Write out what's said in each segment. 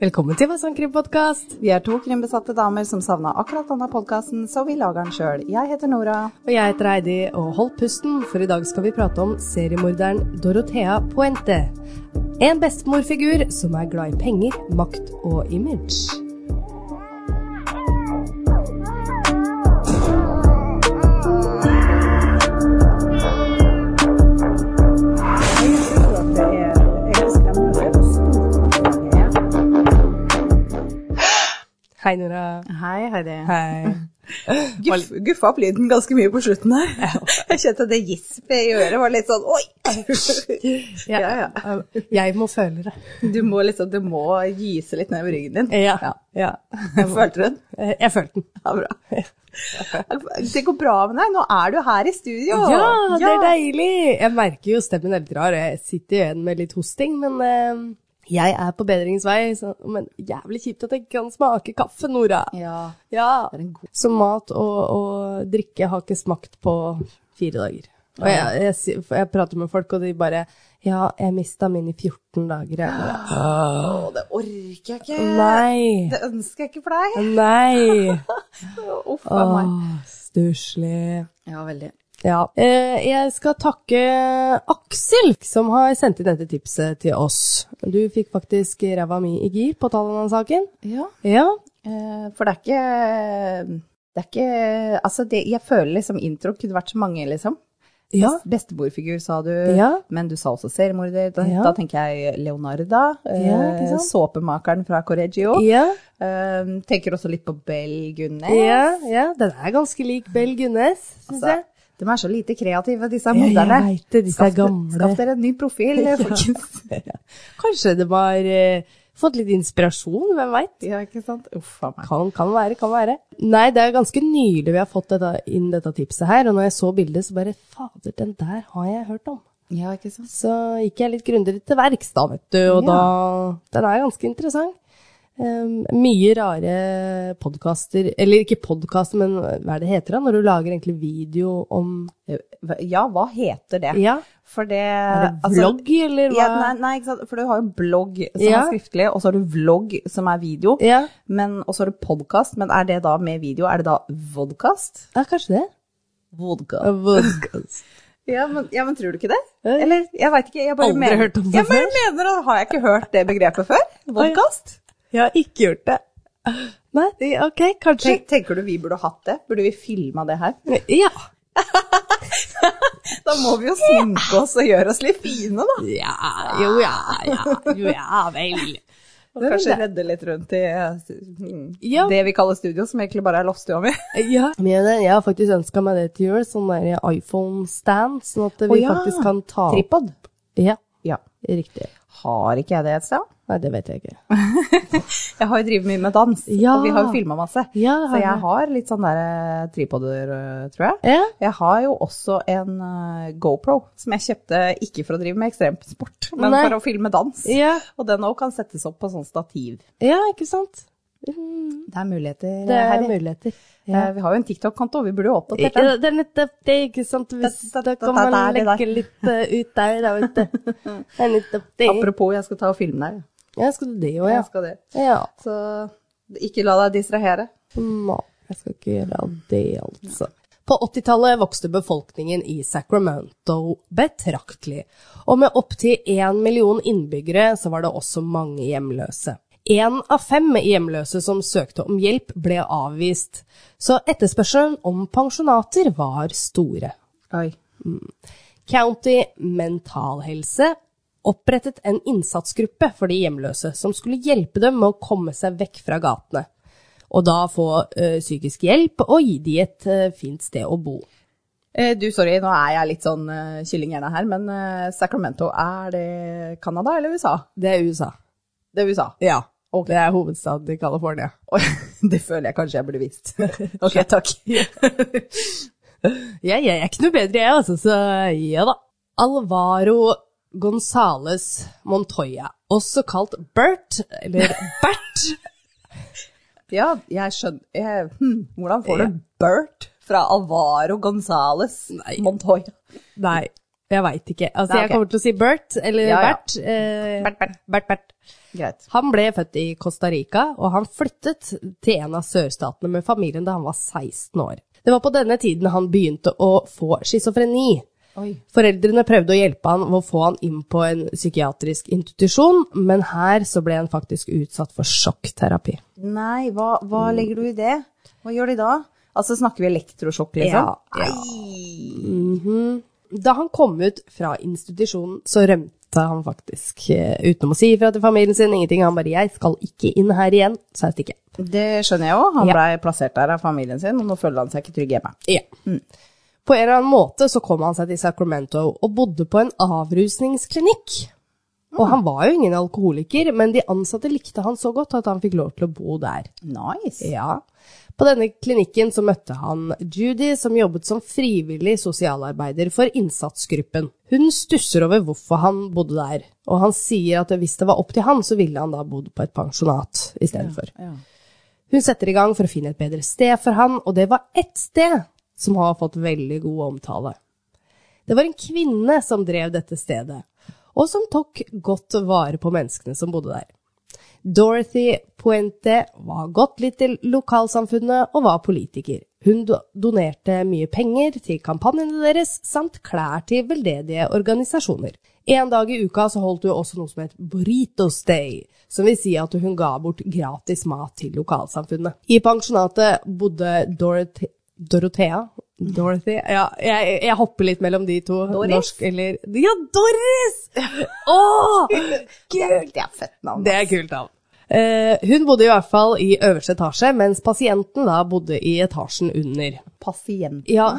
Velkommen til Hva sånn krimpodkast. Vi er to krimbesatte damer som savna akkurat denne podkasten, så vi lager den sjøl. Jeg heter Nora. Og jeg heter Heidi, og hold pusten, for i dag skal vi prate om seriemorderen Dorothea Puente. En bestemorfigur som er glad i penger, makt og image. Hei, Nora. Hei, Heidi. Hei. Guff, guffa opp lyden ganske mye på slutten her. Jeg kjente det gispet i øret var litt sånn oi! Ja, ja. Jeg må føle det. Du må liksom, det må gyse litt nedover ryggen din. Ja. ja. Følte du den? Eh, Jeg følte den. Ja, bra. Det går bra med deg. Nå er du her i studio. Ja, det er deilig! Jeg merker jo stemmen er litt rar, og jeg sitter jo igjen med litt hosting, men eh, jeg er på bedringens vei. Så, men jævlig kjipt at jeg ikke kan smake kaffe, Nora. Ja. Ja. Det er en god Så mat og, og drikke har ikke smakt på fire dager. Og jeg, jeg, si- for jeg prater med folk, og de bare Ja, jeg mista min i 14 dager. Jeg bare, Å, det orker jeg ikke. Nei! Det ønsker jeg ikke for deg. Nei! Uff a Åh, meg. Stusslig. Ja, veldig. Ja. Eh, jeg skal takke Aksel, som har sendt inn dette tipset til oss. Du fikk faktisk ræva mi i gir på Taliban-saken. Ja. Ja. Eh, For det er ikke Det er ikke Altså, det, jeg føler liksom intro kunne vært så mange, liksom. Ja. Best- Bestemorfigur, sa du. Ja. Men du sa også seriemorder. Da, Ja. da tenker jeg Leonarda. Ja, eh, ikke sant? såpemakeren fra Correggio. Ja, Eh, tenker også litt på Bell Gunnes. ja, ja. Den er ganske lik Bell Gunnes, syns Altså, jeg. de er så lite kreative, disse jeg moderne. vet det, disse Skaff- gamle. Skaff dere en ny profil, folkens. Kanskje det var eh, fått litt inspirasjon, hvem veit? ja, ikke sant? Uff a meg. Kan, kan være, kan være. Nei, det er ganske nylig vi har fått dette, inn dette tipset her, og når jeg så bildet, så bare Fader, den der har jeg hørt om. Ja, ikke sant? Så gikk jeg litt grundigere til verks da, vet du, og Ja. da Den er ganske interessant. Um, mye rare podkaster Eller ikke podkaster, men hva er det heter da? Når du lager egentlig video om Ja, hva heter det? Ja, For det er det vlogg, eller hva? Eh, altså, Ja, nei, nei, ikke sant? For du har jo blogg som Ja. er skriftlig, og så har du vlogg som er video, Ja. men, og så har du podkast. Men er det da med video? Er det da vodkast? ja, kanskje det. Vodkast. Podcast. Ja, men, ja, men tror du ikke det? Nei. Eller, jeg veit ikke. Jeg bare Aldri mener, hørt om det jeg bare mener at Har jeg ikke hørt det begrepet før? Vodkast? Jeg har ikke gjort det. Nei, det- ok, kanskje. Tenk, tenker du vi burde hatt det? Burde vi filma det her? Ja. Da må vi jo sminke oss og gjøre oss litt fine, da. ja. Jo, ja, ja. Jo, ja vel. Og Hvem er kanskje det? redde litt rundt i eh, mm, Ja. det vi kaller studio, som egentlig bare er loftstua mi. eh, Ja. Men jeg, jeg har faktisk ønska meg det til jul, sånn der iPhone-stand, sånn at vi Å, ja. faktisk kan ta opp Tripod. Ja, Ja. riktig. Har ikke jeg det et sted? Nei, det vet jeg ikke. Jeg har jo drevet mye med dans, Ja. og vi har jo filma masse. Ja, det har så jeg vi. har litt sånn der eh, tripoder, eh, tror jeg. Ja. Jeg har jo også en eh, GoPro som jeg kjøpte ikke for å drive med ekstremsport, men Nei. for å filme dans. Ja, Og den òg kan settes opp på sånn stativ. ja ikke sant? Mm, Det er muligheter Det er Harry. muligheter. Ja. Eh, Vi har jo en TikTok-konto, vi burde jo oppdatert Ikke, den. det er nettopp det, ikke sant. Hvis Det- det- da kan det- det man er det legge der. litt eh, ut der, da, vet du. Det er nettopp det. Apropos, jeg skal ta og filme deg. Ja, skal du det òg, ja. Jeg skal det. Ja. Så ikke la deg distrahere. Nei, jeg skal ikke gjøre det, altså. På 80-tallet vokste befolkningen i Sacramento betraktelig, og med opptil én million innbyggere så var det også mange hjemløse. Én av fem hjemløse som søkte om hjelp, ble avvist, så etterspørselen om pensjonater var store. Oi. County Mental Helse opprettet en innsatsgruppe for de hjemløse, som skulle hjelpe dem med å komme seg vekk fra gatene. Og da få ø, psykisk hjelp og gi de et ø, fint sted å bo. Eh, Du, sorry, nå er jeg litt sånn uh, kyllinghjerne her, men eh, Sacramento, er det Canada eller USA? Det er USA. Det er USA. Ja. Det er hovedstaden i California. Oi, det føler jeg kanskje jeg burde visst. Ok, takk. Ja, jeg er ikke noe bedre, jeg, altså, så ja da. Alvaro Gonzales Montoya, også kalt Bert, eller Bert. Ja, jeg skjønner jeg, hm, Hvordan får du Bert fra Alvaro Gonzales Nei. Montoya? Nei. Jeg veit ikke. Altså, Nei, ok. jeg kommer til å si Bert, eller Ja, ja. Bert. eh, Bert, Bert. Bert, Bert. Greit. Han ble født i Costa Rica, og han flyttet til en av sørstatene med familien da han var 16 år. Det var på denne tiden han begynte å få schizofreni. Oi. Foreldrene prøvde å hjelpe han ved å få han inn på en psykiatrisk institusjon, men her så ble han faktisk utsatt for sjokkterapi. Nei, hva, hva Mm. legger du i det? Hva gjør de da? Altså, snakker vi elektrosjokk, liksom? Ja, ja. Ei. Da han kom ut fra institusjonen, så rømte han faktisk, eh, uten å si ifra til familien sin, ingenting. Han bare 'jeg skal ikke inn her igjen', sa jeg stikker. Det skjønner jeg òg. Han Ja. blei plassert der av familien sin, og nå føler han seg ikke trygg hjemme. Ja. På en eller annen måte så kom han seg til Sacramento og bodde på en avrusningsklinikk. Og han var jo ingen alkoholiker, men de ansatte likte han så godt at han fikk lov til å bo der. Nice. Ja. På denne klinikken så møtte han Judy, som jobbet som frivillig sosialarbeider for innsatsgruppen. Hun stusser over hvorfor han bodde der, og han sier at hvis det var opp til han, så ville han da bodd på et pensjonat istedenfor. Ja. Hun setter i gang for å finne et bedre sted for han, og det var ett sted som har fått veldig god omtale. Det var en kvinne som drev dette stedet, og som tok godt vare på menneskene som bodde der. Dorothy Puente var godt litt til lokalsamfunnet og var politiker. Hun do- donerte mye penger til kampanjene deres, samt klær til veldedige organisasjoner. En dag i uka så holdt hun også noe som het Burritos Day, som vil si at hun ga bort gratis mat til lokalsamfunnet. I pensjonatet bodde Dorothy Dorothea? Dorothy? Ja, jeg, jeg hopper litt mellom de to. Doris? Norsk eller Ja, Doris! Åh! Kult, jeg har født navn. Det er kult navn. Eh, hun bodde i hvert fall i øverste etasje, mens pasienten da bodde i etasjen under. Pasient. Ja,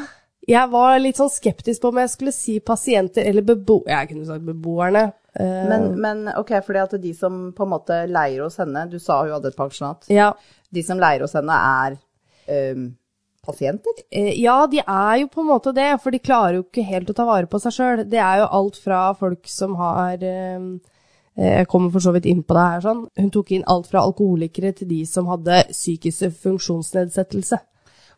jeg var litt sånn skeptisk på om jeg skulle si pasienter eller bebo... Jeg kunne sagt beboerne. Eh, Men, men ok, fordi at de som på en måte leier hos henne, du sa hun hadde et pensjonat, ja. de som leier hos henne er øhm, pasienter? Eh, ja, de er jo på en måte det, for de klarer jo ikke helt å ta vare på seg sjøl. Det er jo alt fra folk som har eh, eh, Jeg kommer for så vidt inn på det her, sånn. Hun tok inn alt fra alkoholikere til de som hadde psykisk funksjonsnedsettelse.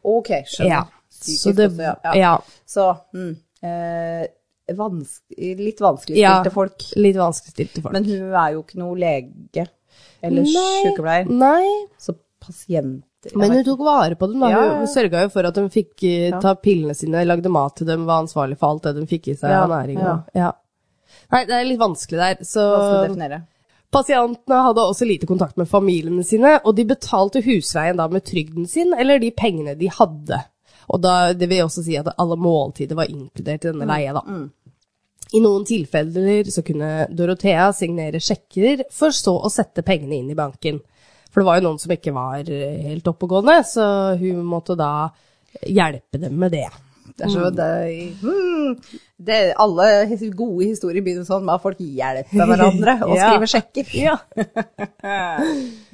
Ok, skjønner. Ja. Psykisk Så det- også, ja. ja. ja. Så, mm, eh, vans litt vanskelig Ja. stilte folk. Litt vanskeligstilte folk. Men hun er jo ikke noe lege eller Nei. sykepleier, Nei, så pasienter. jeg men vet hun tok vare på dem. da. Ja, ja, ja. Hun sørga jo for at de fikk eh, ta pillene sine, lagde mat til dem, var ansvarlig for alt det de fikk i seg Ja, av næring. ja. og- Ja. Nei, det er litt vanskelig der. Så ikke hva skal definere. pasientene hadde også lite kontakt med familiene sine, og de betalte husveien da med trygden sin eller de pengene de hadde. Og da, det vil også si at alle måltider var inkludert i denne leia, da. I noen tilfeller så kunne Dorothea signere sjekker, for så å sette pengene inn i banken. For det var jo noen som ikke var eh, helt oppegående, så hun måtte da hjelpe dem med det. Det er så, det, mm, det, alle his- gode historier begynner sånn med at folk hjelper hverandre og Ja. skriver sjekker. Ja. Eh,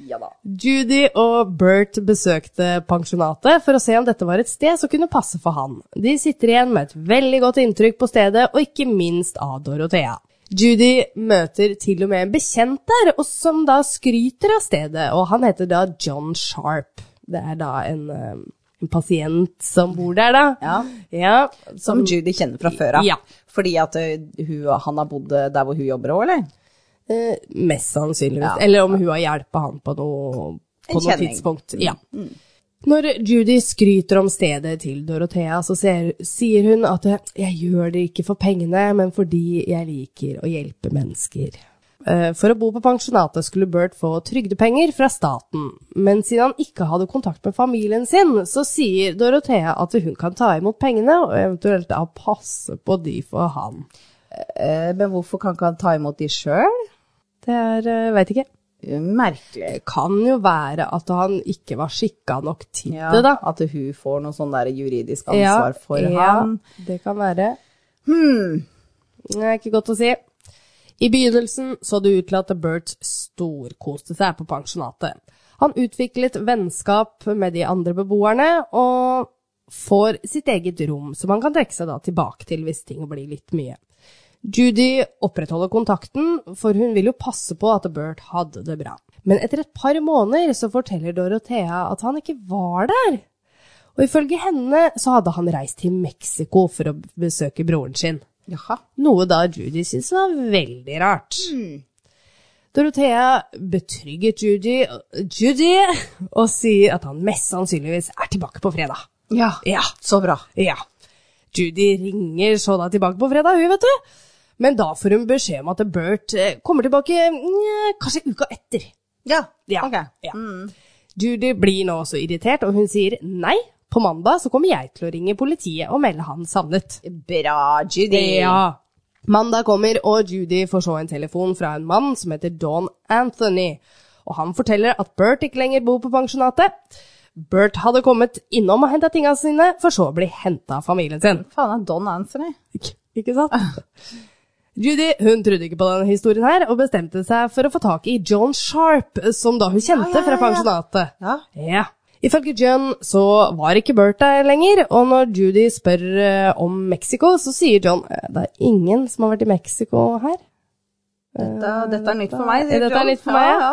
Ja da. Judy og Bert besøkte pensjonatet for å se om dette var et sted som kunne passe for han. De sitter igjen med et veldig godt inntrykk på stedet, og ikke minst av Dorothea. Judy møter til og med en bekjent der, og som da skryter av stedet, og han heter da John Sharp. Det er da en, eh, en pasient som bor der, da. Ja. ja som Som Judy kjenner fra før av. Mm. Ja. Fordi at ø, hun, han har bodd eh, der hvor hun jobber òg, eller? Eh, mest sannsynligvis. Ja. Eller om hun har hjulpet han på noe, En på noe kjenning. Mm. tidspunkt. Ja. Når Judy skryter om stedet til Dorothea, så ser, sier hun at eh, 'jeg gjør det ikke for pengene, men fordi jeg liker å hjelpe mennesker'. Eh, For å bo på pensjonatet skulle Bert få trygdepenger fra staten, men siden han ikke hadde kontakt med familien sin, så sier Dorothea at hun kan ta imot pengene, og eventuelt da passe på de for han. Eh, Men hvorfor kan ikke han ta imot de sjøl? Det er, eh, veit ikke. Merkelig. Det kan jo være at han ikke var skikka nok til Ja, det, da. At hun får noe sånn der juridisk ansvar for han. Det kan være. Hmm. Det er ikke godt å si. I begynnelsen så det ut til at Bert storkoste seg på pensjonatet. Han utviklet vennskap med de andre beboerne, og får sitt eget rom, som han kan trekke seg da tilbake til hvis ting blir litt mye. Judy opprettholder kontakten, for hun vil jo passe på at Bert hadde det bra. Men etter et par måneder så forteller Dorothea at han ikke var der. Og ifølge henne så hadde han reist til Mexico for å besøke broren sin. Jaha. Noe da Judy syntes var veldig rart. Mm. Dorothea betrygger Judy, Judy og sier at han mest sannsynligvis er tilbake på fredag. Ja. Ja, Så bra. ja. Judy ringer så da tilbake på fredag, hun, vet du. Men da får hun beskjed om at Bert eh, kommer tilbake eh, kanskje uka etter. Ja. Ja. Ok. ja. Judy blir nå også irritert, og hun sier nei. På mandag så kommer jeg til å ringe politiet og melde han savnet. Bra, Judy. Ja. Mandag kommer, og Judy får så en telefon fra en mann som heter Don Anthony. Og han forteller at Bert ikke lenger bor på pensjonatet. Bert hadde kommet innom og henta tinga sine, for så å bli henta av familien sin. Faen, er Don Anthony? Ikke, ikke sant? Judy hun trodde ikke på denne historien her, og bestemte seg for å få tak i John Sharp, som da hun kjente Ja, ja, ja, fra pensjonatet. Ja. Ja. Ifølge John så var ikke Bert der lenger, og når Judy spør eh, om Mexico, så sier John eh, det er ingen som har vært i Mexico her. Dette, dette er nytt for meg, sier Dette er John. nytt for meg, Ja, ja.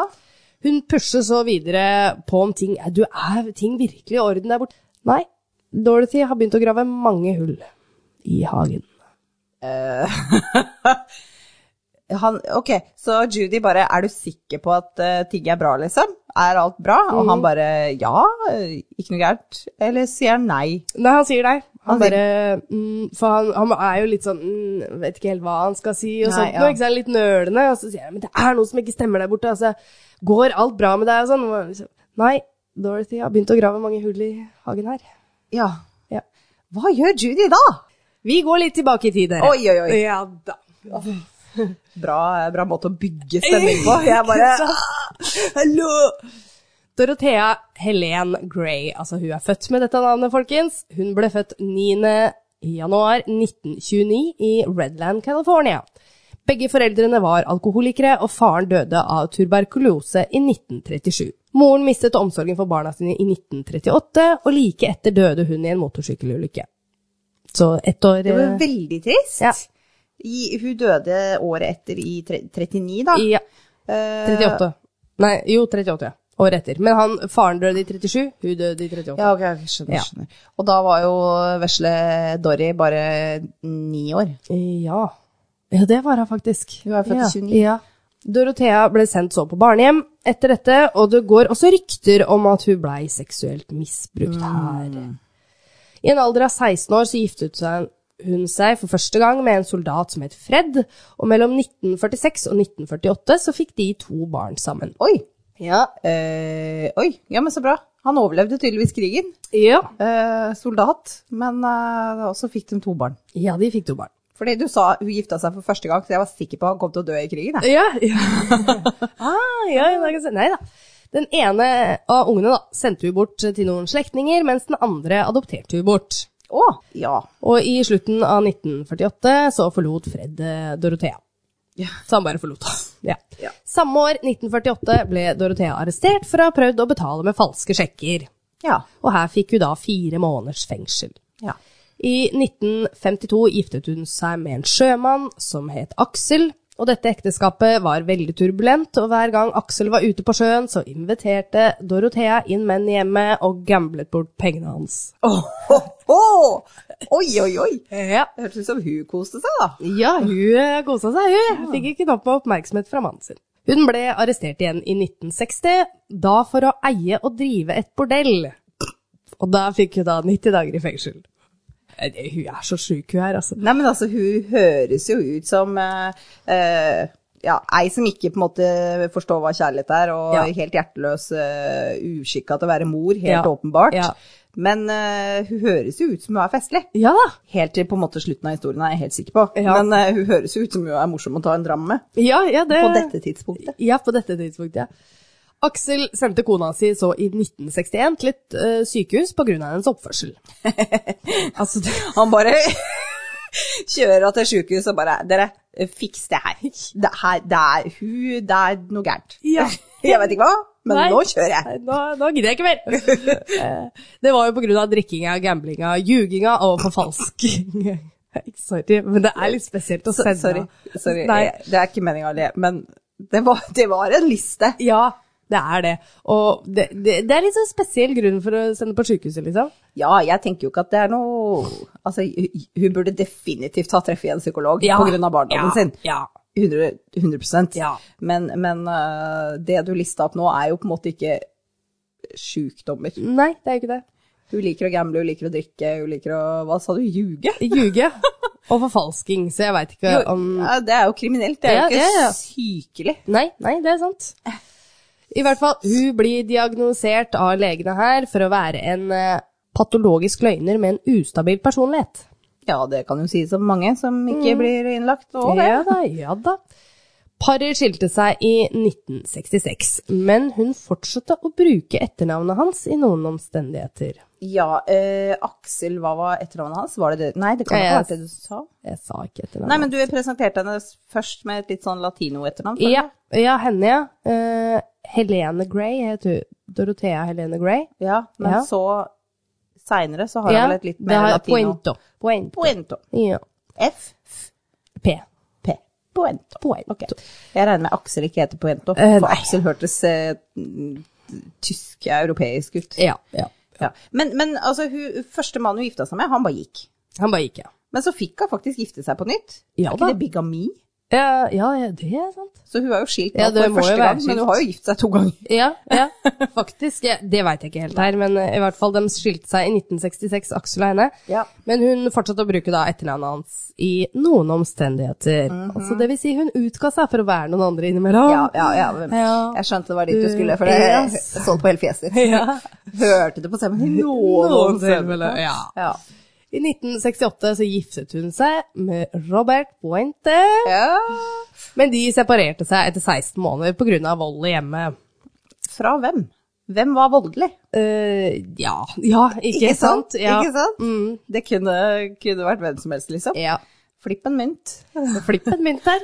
Hun pusher så videre på om ting eh, Du, er ting virkelig i orden der borte? Nei, Dorothy har begynt å grave mange hull i hagen. han, ok, så Judy bare, er du sikker på at eh, ting er bra, liksom? Er alt bra? Og Mm. han bare, ja, eh, ikke noe gærent. Eller sier han nei? Nei, han sier nei. Han Han sier- bare, mm, for han, han er jo litt sånn mm, Vet ikke helt hva han skal si, og Nei, sånt. ja. noe, Ikke sant? Litt nølende. Og så sier jeg men det er noe som ikke stemmer der borte. Altså, går alt bra med deg? Og sånn. Og han liksom, Nei, Dorothy har begynt å grave mange hull i hagen her. Ja. Ja. Hva gjør Judy da? Vi går litt tilbake i tid, dere. Oi, oi, oi. Ja da. Bra, bra måte å bygge stemning på. Jeg bare, Ikke hallo! Dorothea Helene Gray, altså hun er født med dette navnet, folkens. Hun ble født 9. januar 1929 i Redland, California. Begge foreldrene var alkoholikere, og faren døde av tuberkulose i 1937. Moren mistet omsorgen for barna sine i 1938, og like etter døde hun i en motorsykkelulykke. Så ett år Det var eh, veldig trist. Ja. I, hun døde året etter i tre, 39 da. Ja. Eh, 38. Nei, jo, 38, ja. Året etter. Men han, faren døde i 37, hun døde i 38. Ja, ok, jeg skjønner, Ja. skjønner. Og da var jo vesle Dory bare ni år. Ja. Ja, det var hun faktisk. Hun er født i ja. 29. Ja. Dorothea ble sendt så på barnehjem etter dette, og det går også rykter om at hun blei seksuelt Mm. misbrukt her. I en alder av 16 år så giftet seg- hun seg for første gang med en soldat som het Fred, og mellom 1946 og 1948 så fikk de to barn sammen. Oi! Ja. Eh, oi, ja, men så bra. Han overlevde tydeligvis krigen. Ja, Eh, soldat, men eh, også fikk de to barn. ja de fikk to barn. Fordi du sa hun gifta seg for første gang, så jeg var sikker på at han kom til å dø i krigen. Jeg. Ja. ja. ah, ja, ja, det kan se- Nei da. Den ene av ungene da, sendte hun bort til noen slektninger, mens den andre adopterte hun bort. Å, ja. Og i slutten av 1948 så forlot Fred eh, Dorothea. Ja. Så han bare forlot henne. Ja. Ja. Samme år, 1948, ble Dorothea arrestert for å ha prøvd å betale med falske sjekker. Ja. Og her fikk hun da fire måneders fengsel. ja. I 1952 giftet hun seg med en sjømann som het Aksel, og dette ekteskapet var veldig turbulent, og hver gang Aksel var ute på sjøen, så inviterte Dorothea inn menn i hjemmet og gamblet bort pengene hans. Åh, åh, åh. Oi, oi, oi. Ja, Det hørtes ut som hun koste seg, da. hun eh, kosa seg, hun. Fikk ikke nok med oppmerksomhet fra mannen sin. Hun ble arrestert igjen i 1960, da for å eie og drive et bordell. Og da fikk hun da 90 dager i fengsel. Eh, det- Hun er så sjuk, hun her, altså. Nei, men altså, hun høres jo ut som eh, eh, ja, ei som ikke på en måte forstår hva kjærlighet er, og Ja. helt hjerteløs, eh, uskikka til å være mor, helt Ja. åpenbart. Ja. Men eh, hun høres jo ut som hun er festlig. Ja da. Helt til på en måte slutten av historien er jeg helt sikker på. Ja. Men eh, hun høres jo ut som hun er morsom å ta en dram med, Ja, ja, det... på dette tidspunktet. Ja, på dette tidspunktet, ja. Aksel sendte kona si så i 1961 til et eh, sykehus på grunn av hennes oppførsel. altså, det, Han bare kjører henne til sjukehuset og bare Dere, fiks det her. Det, her, det er hun Det er noe gærent. Ja. Jeg vet ikke hva, men Nei. nå kjører jeg. nei, nå, nå gidder jeg ikke mer. Eh, det var jo på grunn av drikkinga, gamblinga, ljuginga og forfalsking. Sorry, men det er litt spesielt å Så- sende. Sorry, sorry. Nei, jeg- det er ikke meningen å le, men det var, det var en liste. ja, Det er det. Og det, det, det er litt sånn spesiell grunn for å sende på sykehuset, liksom. Ja, jeg tenker jo ikke at det er noe Altså, hun burde definitivt ha treff i en psykolog Ja. på grunn av barndommen Ja, sin. ja. 100, 100%. Ja. Men, men øh, det du lista opp nå, er jo på en måte ikke sjukdommer. Nei, det er ikke det. Hun liker å gamble, hun liker å drikke, hun liker å Hva sa du? Ljuge? Ljuge og forfalsking, så jeg veit ikke om Ja, det er jo kriminelt, det er Ja, jo ikke ja, ja. sykelig. Nei, nei, det er sant. I hvert fall, hun blir diagnosert av legene her for å være en eh, patologisk løgner med en ustabil personlighet. Ja, det kan jo sies om mange som ikke blir innlagt. Og det. Mm. Ja da, ja da. Paret skilte seg i 1966, men hun fortsatte å bruke etternavnet hans i noen omstendigheter. Ja, øh, Aksel, hva var etternavnet hans? Var det det? Nei, det kan ikke Ja, ha ja. vært det du sa. Jeg sa ikke Nei, etternavnet. men du presenterte henne først med et litt sånn latino-etternavn. sa du? Ja, ja, henne, ja. Eh, Helene Gray heter hun. Dorothea Helene Gray. ja. Men Ja. så seinere så har ja, hun vel et litt mer har- latino. Pointo. Pointo. Poento. Ja. F. P. P. Poento. Pointo. Ok. Jeg regner med Aksel ikke heter Poento, Eh, for nei. Aksel hørtes eh, mm, tysk-europeisk ut. Ja, ja. Ja. Men, men altså, hun, første mann hun gifta seg med, han bare gikk. Han bare gikk, ja. Men så fikk hun faktisk gifte seg på nytt. Ja er ikke da. det bigami? Ja, ja, ja, det er sant. Så hun er jo skilt nå Ja, det for må jo første være gang, men skilt. hun har jo gift seg to ganger. Ja, ja, faktisk. Ja, det veit jeg ikke helt her, men eh, i hvert fall de skilte seg i 1966, Aksel og henne. Ja. Men hun fortsatte å bruke da etternavnet hans i noen omstendigheter. Altså det vil si, hun utga seg for å være noen andre innimellom. Ja, ja, ja. Ja. Eh, Jeg skjønte det var dit du skulle, for det Ja. så på hele fjeset ditt. Ja. Hørte det på stemmen din? Noen stemmer. stemmer, ja. Ja. I 1968 så giftet hun seg med Robert Pointe, ja. men de separerte seg etter 16 måneder pga. vold i hjemmet. Fra hvem? Hvem var voldelig? Eh, ja, ja, ikke, sant? Ja. Ikke sant? Mm, Det kunne, kunne vært hvem som helst, liksom. ja. Flipp en mynt. Flippen mynt her.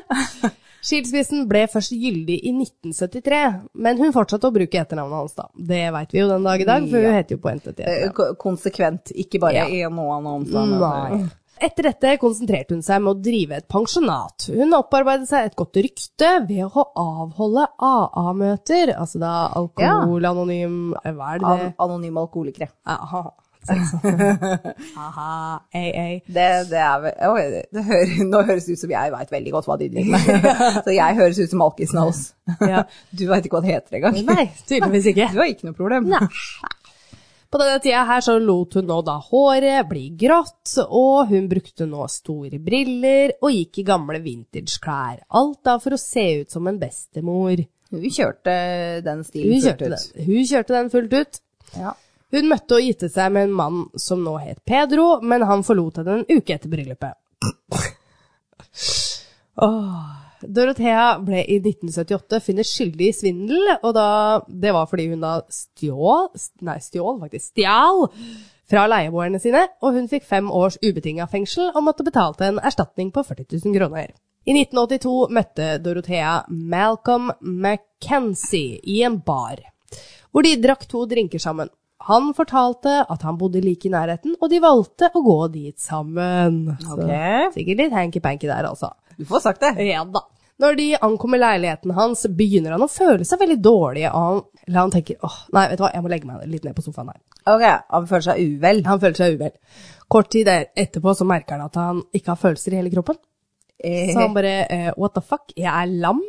Skilsmissen ble først gyldig i 1973, men hun fortsatte å bruke etternavnet hans da. Det veit vi jo den dag i dag, for hun heter jo Pointe til Eh, etternavn. ko- Konsekvent, ikke bare Ja. Mm, i noen altså. Nei. omstendigheter. Etter dette konsentrerte hun seg med å drive et pensjonat. Hun opparbeidet seg et godt rykte ved å avholde AA-møter, altså da alkohol, anonym eh, Hva er det An det? anonyme alkoholikere. Aha. Aha, AA. Det, det er vel oi, det- det hører, Nå høres det ut som jeg veit veldig godt hva de driver med. Så jeg høres ut som alkisen av oss. Ja. Du veit ikke hva det heter engang. Nei, tydeligvis ikke. Du har ikke noe problem. På denne tida her så lot hun nå da håret bli grått, og hun brukte nå store briller og gikk i gamle vintageklær. Alt da for å se ut som en bestemor. Hun kjørte den stilen Hun fullt kjørte ut. den, hun kjørte den fullt ut. Ja. Hun møtte og gitte seg med en mann som nå het Pedro, men han forlot henne en uke etter bryllupet. Åh. Dorothea ble i 1978 funnet skyldig i svindel, og da, det var fordi hun da stjål, nei stjål faktisk, stjal fra leieboerne sine, og hun fikk fem års ubetinga fengsel og måtte betale til en erstatning på 40 000 kroner. I 1982 møtte Dorothea Malcolm McKenzie i en bar, hvor de drakk to drinker sammen. Han fortalte at han bodde like i nærheten, og de valgte å gå dit sammen. Så Ok. sikkert litt hanky-panky der, altså. Du får sagt det. Ja da. Når de ankommer leiligheten hans, begynner han å føle seg veldig dårlig. Og han, eller han tenker åh, nei, vet du hva, jeg må legge meg litt ned på sofaen her. Ok, han føler seg uvel. Han føler seg uvel. Kort tid der- etterpå så merker han at han ikke har følelser i hele kroppen. Så han Eh, bare eh, what the fuck, jeg er lam.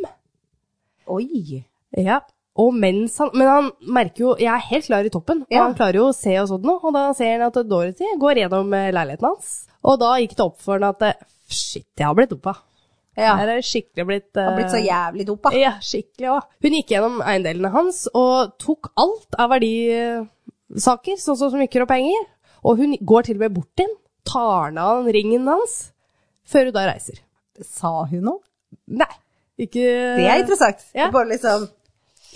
oi. Ja. Og mens han, men han merker jo, jeg er helt klar i toppen, og Ja. han klarer jo å se og sånn noe, og da ser han at Dorothy går gjennom eh, leiligheten hans. Og da gikk det opp for han at eh, shit, jeg har blitt dopa. Ja. Her er det skikkelig blitt... Han har blitt så eh, jævlig dopa. Ja, skikkelig òg. Hun gikk gjennom eiendelene hans og tok alt av verdisaker, sånn som smykker og penger. Og hun går til og med bort til ham, tar ned han ringen hans, før hun da reiser. eh, Sa hun noe? Nei, ikke Det er interessant. Ja. Bare liksom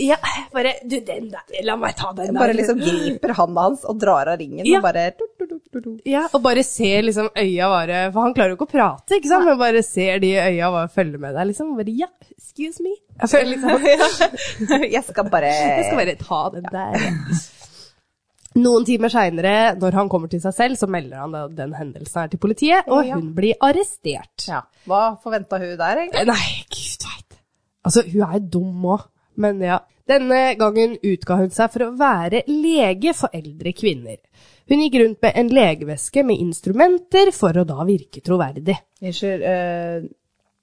Ja, bare Du, den der, la meg ta den der. Bare liksom griper handa hans og drar av ringen Ja. og bare du, du, du, du, du. Ja, og bare ser liksom øya bare For han klarer jo ikke å prate, ikke sant? Men bare ser de øya bare følger med deg, liksom. Bare ja, excuse me. Jeg Altså, føler liksom Jeg skal bare Jeg skal bare ta den der. Noen timer seinere, når han kommer til seg selv, så melder han da den hendelsen her til politiet, og Ja. hun blir arrestert. ja. Hva forventa hun der, egentlig? Nei, gud veit. Altså, hun er jo dum òg, men ja. Denne gangen utga hun seg for å være lege for eldre kvinner. Hun gikk rundt med en legeveske med instrumenter for å da virke troverdig. Unnskyld, eh,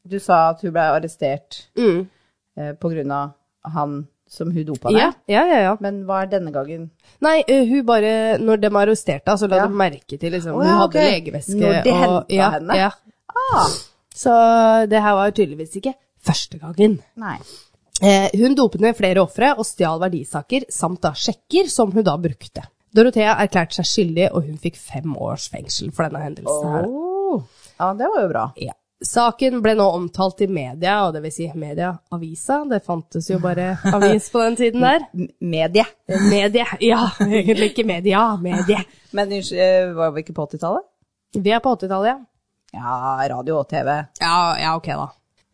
du sa at hun ble arrestert Mm. eh, på grunn av han som hun dopa ned. Ja, ja, ja, ja. Men hva er denne gangen? Nei, ø, hun bare Når de arresterte henne, så la Ja. de merke til liksom, Å, Hun ja, hadde ok. legeveske Når de hentet ja, henne. Ja. Ah, Så det her var tydeligvis ikke første gangen. nei. Eh, hun dopet ned flere ofre og stjal verdisaker, samt da sjekker som hun da brukte. Dorothea erklærte seg skyldig, og hun fikk fem års fengsel for denne hendelsen. her. Ja, det var jo bra. Ja. Saken ble nå omtalt i media, og det vil si media, avisa, det fantes jo bare avis på den tiden der. M medie. Medie, ja, egentlig ikke media, medie. Men unnskyld, eh, var vi ikke på 80-tallet? Vi er på 80-tallet, ja. Ja, radio og TV. Ja, ja, ok da.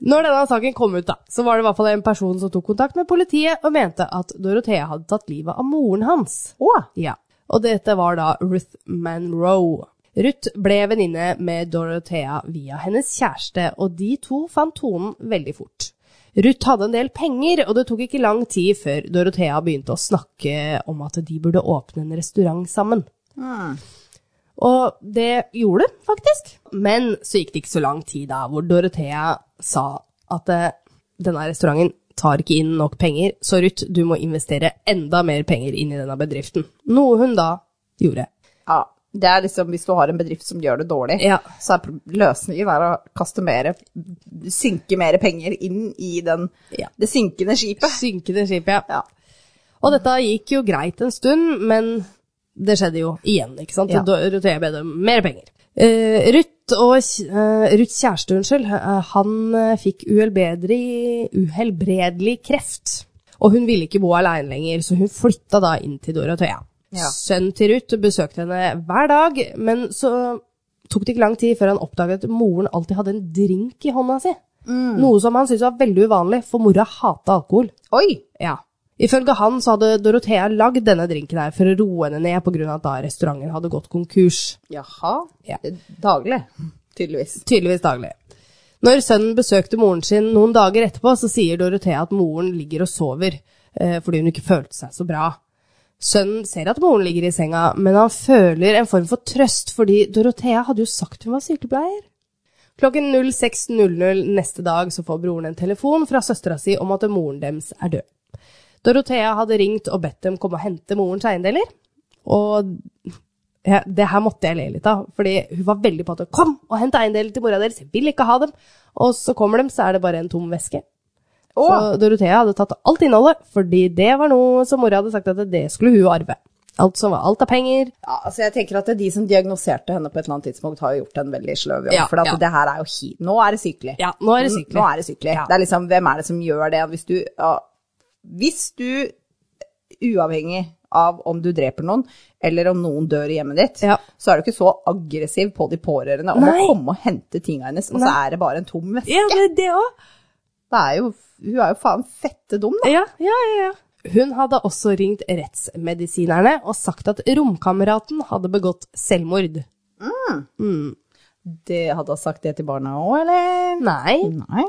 Når denne saken kom ut, da, så var det i hvert fall en person som tok kontakt med politiet og mente at Dorothea hadde tatt livet av moren hans. Å, Ja. Og dette var da Ruth Manroe. Ruth ble venninne med Dorothea via hennes kjæreste, og de to fant tonen veldig fort. Ruth hadde en del penger, og det tok ikke lang tid før Dorothea begynte å snakke om at de burde åpne en restaurant sammen. Og det gjorde hun faktisk. Men så gikk det ikke så lang tid da, hvor Dorothea sa at eh, denne restauranten tar ikke inn nok penger, så Ruth, du må investere enda mer penger inn i denne bedriften. Noe hun da gjorde. ja. Det er liksom hvis du har en bedrift som gjør det dårlig, Ja. så er pro- løsningen er å kaste mer, synke mer penger inn i den, Ja. det synkende skipet. Synkende skip, ja. Ja. Og dette gikk jo greit en stund, men det skjedde jo igjen, ikke sant? Ja. Dorothea bed om mer penger. Eh, Ruth og eh, Ruths kjæreste, unnskyld, eh, han eh, fikk uhelbredelig, uhelbredelig kreft. Og hun ville ikke bo aleine lenger, så hun flytta da inn til Dorothea. Ja. Sønnen til Ruth besøkte henne hver dag, men så tok det ikke lang tid før han oppdaget at moren alltid hadde en drink i hånda si. Mm. Noe som han syntes var veldig uvanlig, for mora hata alkohol. Oi! Ja. Ifølge han så hadde Dorothea lagd denne drinken her for å roe henne ned pga. at da restauranten hadde gått konkurs. Jaha. Ja. Daglig, tydeligvis. Tydeligvis daglig. Når sønnen besøkte moren sin noen dager etterpå, så sier Dorothea at moren ligger og sover eh, fordi hun ikke følte seg så bra. Sønnen ser at moren ligger i senga, men han føler en form for trøst fordi Dorothea hadde jo sagt hun var sykepleier. Klokken 06.00 neste dag så får broren en telefon fra søstera si om at moren deres er død. Dorothea hadde ringt og bedt dem komme og hente morens eiendeler. Og ja, det her måtte jeg le litt av, fordi hun var veldig på at kom og hent eiendeler til mora deres, jeg vil ikke ha dem. Og så kommer de, så er det bare en tom veske. Å, Så Dorothea hadde tatt alt innholdet, fordi det var noe som mora hadde sagt at det skulle hun arve. Alt som var alt av penger. ja, altså jeg tenker at de som diagnoserte henne på et eller annet tidspunkt, har jo gjort en veldig sløv jobb. Ja, for at ja. det her er jo hi... Nå er det sykelig. Ja, nå er det N- sykelig. Nå er det sykelig. Ja. Det er liksom, hvem er det som gjør det? Hvis du, ja, hvis du uavhengig av om du dreper noen, eller om noen dør i hjemmet ditt, Ja. så er du ikke så aggressiv på de pårørende om Nei. å komme og hente tinga hennes, og så er det bare en tom veske. Ja, det, det også. Det er jo, hun er jo faen fette dum, da. Ja, ja, ja, ja. Hun hadde også ringt rettsmedisinerne og sagt at romkameraten hadde begått selvmord. Det hadde hun sagt det til barna òg, eller? Nei. Nei.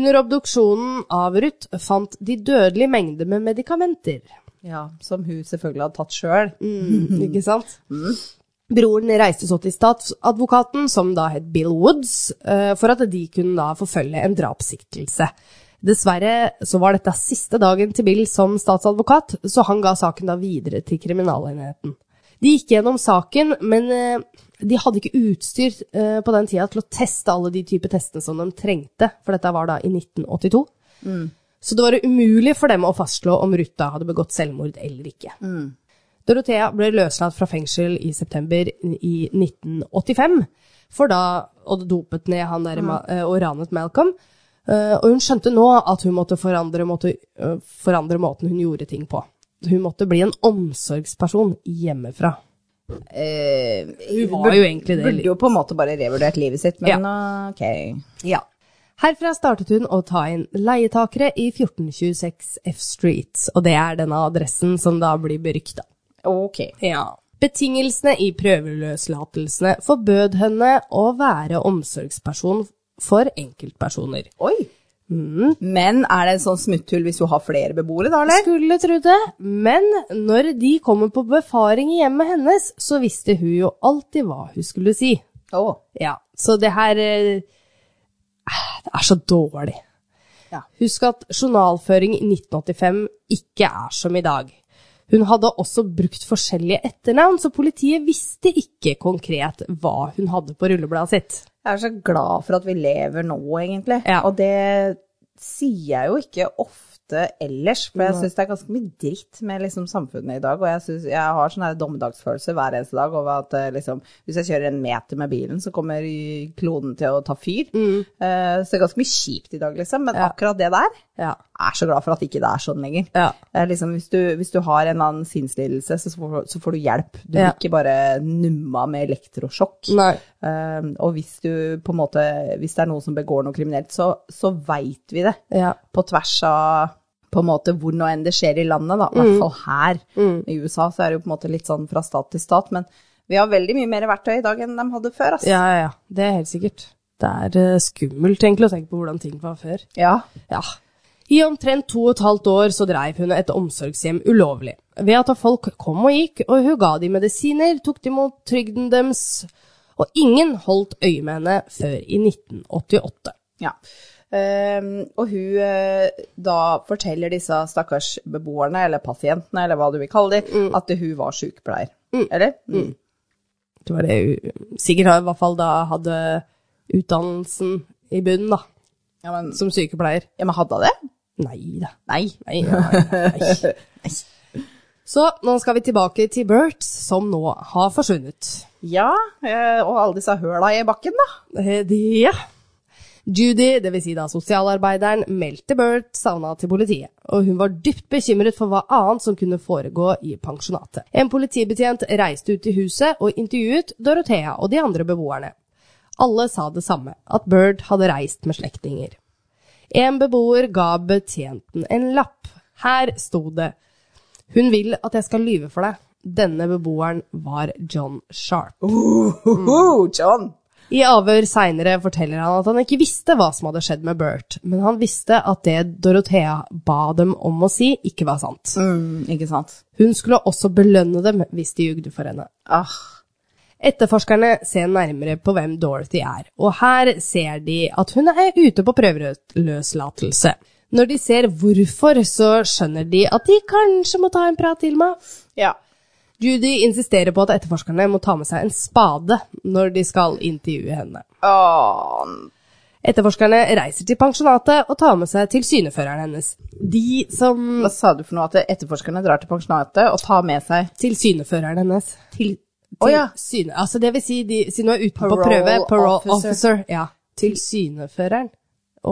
Under obduksjonen av Ruth fant de dødelig mengde med medikamenter. Ja, som hun selvfølgelig hadde tatt sjøl. Ikke sant? Broren reiste så til statsadvokaten, som da het Bill Woods, eh, for at de kunne da forfølge en drapssiktelse. Dessverre så var dette siste dagen til Bill som statsadvokat, så han ga saken da videre til kriminalenheten. De gikk gjennom saken, men eh, de hadde ikke utstyr eh, på den tida til å teste alle de typer testene som de trengte, for dette var da i 1982. Så det var umulig for dem å fastslå om Ruth da hadde begått selvmord eller ikke. Dorothea ble løslatt fra fengsel i september i 1985, for da og dopet ned han der ma- eh, og ranet Malcolm. Eh, Og hun skjønte nå at hun måtte forandre, måtte eh, forandre måten hun gjorde ting på. Hun måtte bli en omsorgsperson hjemmefra. Eh, Hun var jo egentlig det. Burde jo på en måte bare revurdert livet sitt, men ok. Ja. Herfra startet hun å ta inn leietakere i 1426 F Street, og det er denne adressen som da blir berykta. Ok. Ja. Betingelsene i prøveløslatelsene forbød henne å være omsorgsperson for enkeltpersoner. Oi! Mm. Men er det en sånn smutthull hvis du har flere beboere, da, eller? Skulle tro det, men når de kommer på befaring i hjemmet hennes, så visste hun jo alltid hva hun skulle si. Å. Ja, så det her eh, ah, Det er så dårlig. Ja. Husk at journalføring i 1985 ikke er som i dag. Hun hadde også brukt forskjellige etternavn, så politiet visste ikke konkret hva hun hadde på rullebladet sitt. Jeg er så glad for at vi lever nå, egentlig. Ja. Og det sier jeg jo ikke ofte ellers, for jeg syns det er ganske mye dritt med liksom, samfunnet i dag. Og jeg, synes, jeg har sånn her dommedagsfølelse hver eneste dag over at eh, liksom, hvis jeg kjører en meter med bilen, så kommer kloden til å ta fyr. Mm. Eh, så det er ganske mye kjipt i dag, liksom. Men akkurat det der Ja. jeg er så glad for at ikke det er sånn lenger. Ja. Det er liksom, hvis, du, hvis du har en eller annen sinnslidelse, så får, så får du hjelp. Du Ja. blir ikke bare numma med elektrosjokk. Nei. Um, og hvis du på en måte, hvis det er noen som begår noe kriminelt, så, så veit vi det. Ja. På tvers av på en måte hvor nå enn det skjer i landet, da. I hvert fall her. I USA så er det jo på en måte litt sånn fra stat til stat, men vi har veldig mye mer verktøy i dag enn de hadde før, altså. Ja, ja, ja. Det er helt sikkert. Det er eh, skummelt egentlig å tenke på hvordan ting var før. Ja. Ja. I omtrent to og et halvt år så dreiv hun et omsorgshjem ulovlig. Ved at folk kom og gikk, og hun ga de medisiner, tok de imot trygden deres, og ingen holdt øye med henne før i 1988. Ja. Ehm, og hun eh, da forteller disse stakkars beboerne, eller pasientene, eller hva du vil kalle dem, at hun var sykepleier. Eller? Mm. Det var det hun sikkert i hvert fall da hadde utdannelsen i bunnen, da, Ja, men, som sykepleier. ja, men hadde hun det? Nei da. Nei. Nei, nei, nei. Så nå skal vi tilbake til Bert, som nå har forsvunnet. Ja, eh, og alle disse høla i bakken, da. Eh, det- Ja. Judy, dvs. Si da sosialarbeideren, meldte Bert savna til politiet, og hun var dypt bekymret for hva annet som kunne foregå i pensjonatet. En politibetjent reiste ut i huset og intervjuet Dorothea og de andre beboerne. Alle sa det samme, at Bert hadde reist med slektninger. En beboer ga betjenten en lapp. Her sto det Hun vil at jeg skal lyve for deg. Denne beboeren var John Sharp. Hoho, Oh, John! I avhør seinere forteller han at han ikke visste hva som hadde skjedd med Bert, men han visste at det Dorothea ba dem om å si, ikke var sant. Mm, ikke sant? Hun skulle også belønne dem hvis de jugde for henne. Ah, Etterforskerne ser nærmere på hvem Dorothy er, og her ser de at hun er ute på prøveløslatelse. Når de ser hvorfor, så skjønner de at de kanskje må ta en prat til meg. ja. Judy insisterer på at etterforskerne må ta med seg en spade når de skal intervjue henne. Åh, Etterforskerne reiser til pensjonatet og tar med seg tilsyneføreren hennes. De som hva sa du for noe? At etterforskerne drar til pensjonatet og tar med seg Tilsyneføreren hennes. Til, til Å ja. syne... Altså, det vil si, de, siden hun er ute på Parole prøve, parole officer. officer. Mm. ja. Tilsyneføreren.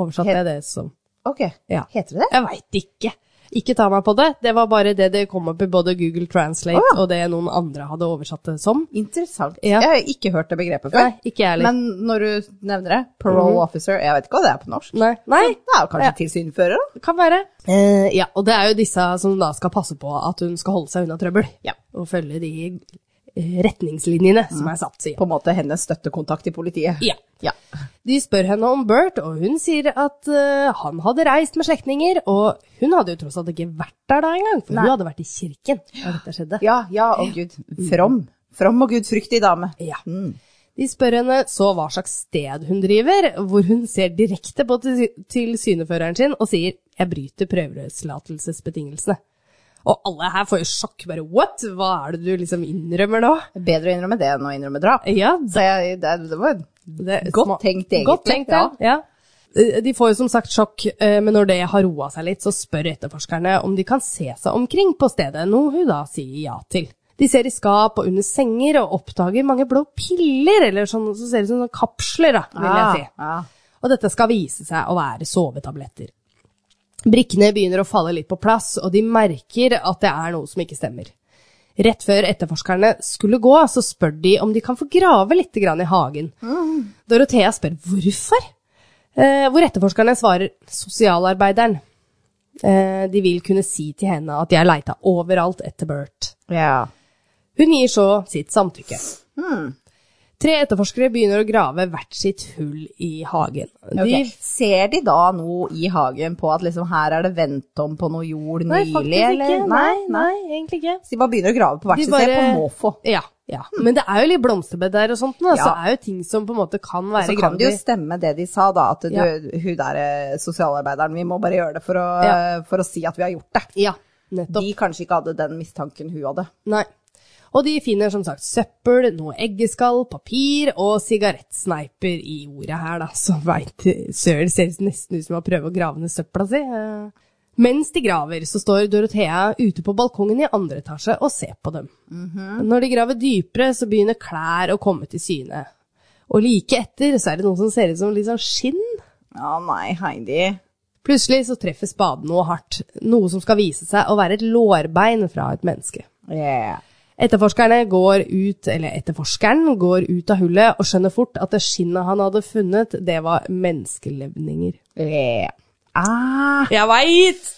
Oversatte jeg det som. Ok, Ja. heter det det? Jeg veit ikke. Ikke ta meg på det. Det var bare det det kom opp i både Google Translate Å ja. og det noen andre hadde oversatt det som. Interessant. Ja. Jeg har ikke hørt det begrepet før. Nei, ikke jeg heller. Mhm. Men når du nevner det, parole officer, jeg vet ikke hva det er på norsk. Nei. Nei, Det er jo kanskje tilsynfører, da? det kan være. Eh, ja, og det er jo disse som da skal passe på at hun skal holde seg unna trøbbel. Ja. og følge de eh, retningslinjene som er satt. Sier. På en måte hennes støttekontakt i politiet. Ja. Ja. De spør henne om Bert, og hun sier at eh, han hadde reist med slektninger, og hun hadde jo tross alt ikke vært der da engang, for hun hadde vært i kirken da dette skjedde. Ja, ja, å gud. From. From og gudfryktig dame. Ja. Mm. De spør henne så hva slags sted hun driver, hvor hun ser direkte på til- tilsyneføreren sin og sier «Jeg bryter prøveløslatelsesbetingelsene». Og alle her får jo sjokk, bare «What? Hva er det du liksom innrømmer nå?» Bedre å innrømme det enn å innrømme drap. Ja, Så jeg, det, det var Det er Godt sma- tenkt, egentlig. Godt tenkt, ja. ja. Eh, De får jo som sagt sjokk, eh, men når det har roa seg litt, så spør etterforskerne om de kan se seg omkring på stedet, noe hun da sier ja til. De ser i skap og under senger og oppdager mange blå piller, eller sånn som ser ut som sånne kapsler, da, vil Ah, jeg si. ja. Og dette skal vise seg å være sovetabletter. Brikkene begynner å falle litt på plass, og de merker at det er noe som ikke stemmer. Rett før etterforskerne skulle gå, så spør de om de kan få grave litt grann i hagen. Dorothea spør hvorfor, eh, hvor etterforskerne svarer sosialarbeideren. Eh, de vil kunne si til henne at de har leita overalt etter Bert. Ja. Hun gir så sitt samtykke. Tre etterforskere begynner å grave hvert sitt hull i hagen. De Ok. Ser de da noe i hagen på at liksom her er det vendt om på noe jord Nei, nylig, faktisk ikke. eller? Nei, nei, egentlig ikke. Så de bare begynner å grave på hvert De sitt sted, bare- på måfå. Ja, ja. Men det er jo litt blomsterbed der og sånt, da, så Ja. det er jo ting som på en måte kan være Så kan gravd det jo i. stemme det de sa, da, at du, Ja. hun der eh, sosialarbeideren, vi må bare gjøre det for å, Ja. for å si at vi har gjort det. Ja, nettopp. De kanskje ikke hadde den mistanken hun hadde. Nei. Og de finner som sagt søppel, noe eggeskall, papir og sigarettsneiper i jorda her, da. Så veit søren, ser nesten ut som han prøver å grave ned søpla si. Eh, Mens de graver, så står Dorothea ute på balkongen i andre etasje og ser på dem. Når de graver dypere, så begynner klær å komme til syne. Og like etter så er det noe som ser ut som litt sånn skinn. Ja, nei, Heidi. Plutselig så treffer spaden noe hardt, noe som skal vise seg å være et lårbein fra et menneske. Yeah. Etterforskerne går ut, eller etterforskeren går ut av hullet og skjønner fort at det skinnet han hadde funnet, det var menneskelevninger. Yeah. Ah. Jeg veit!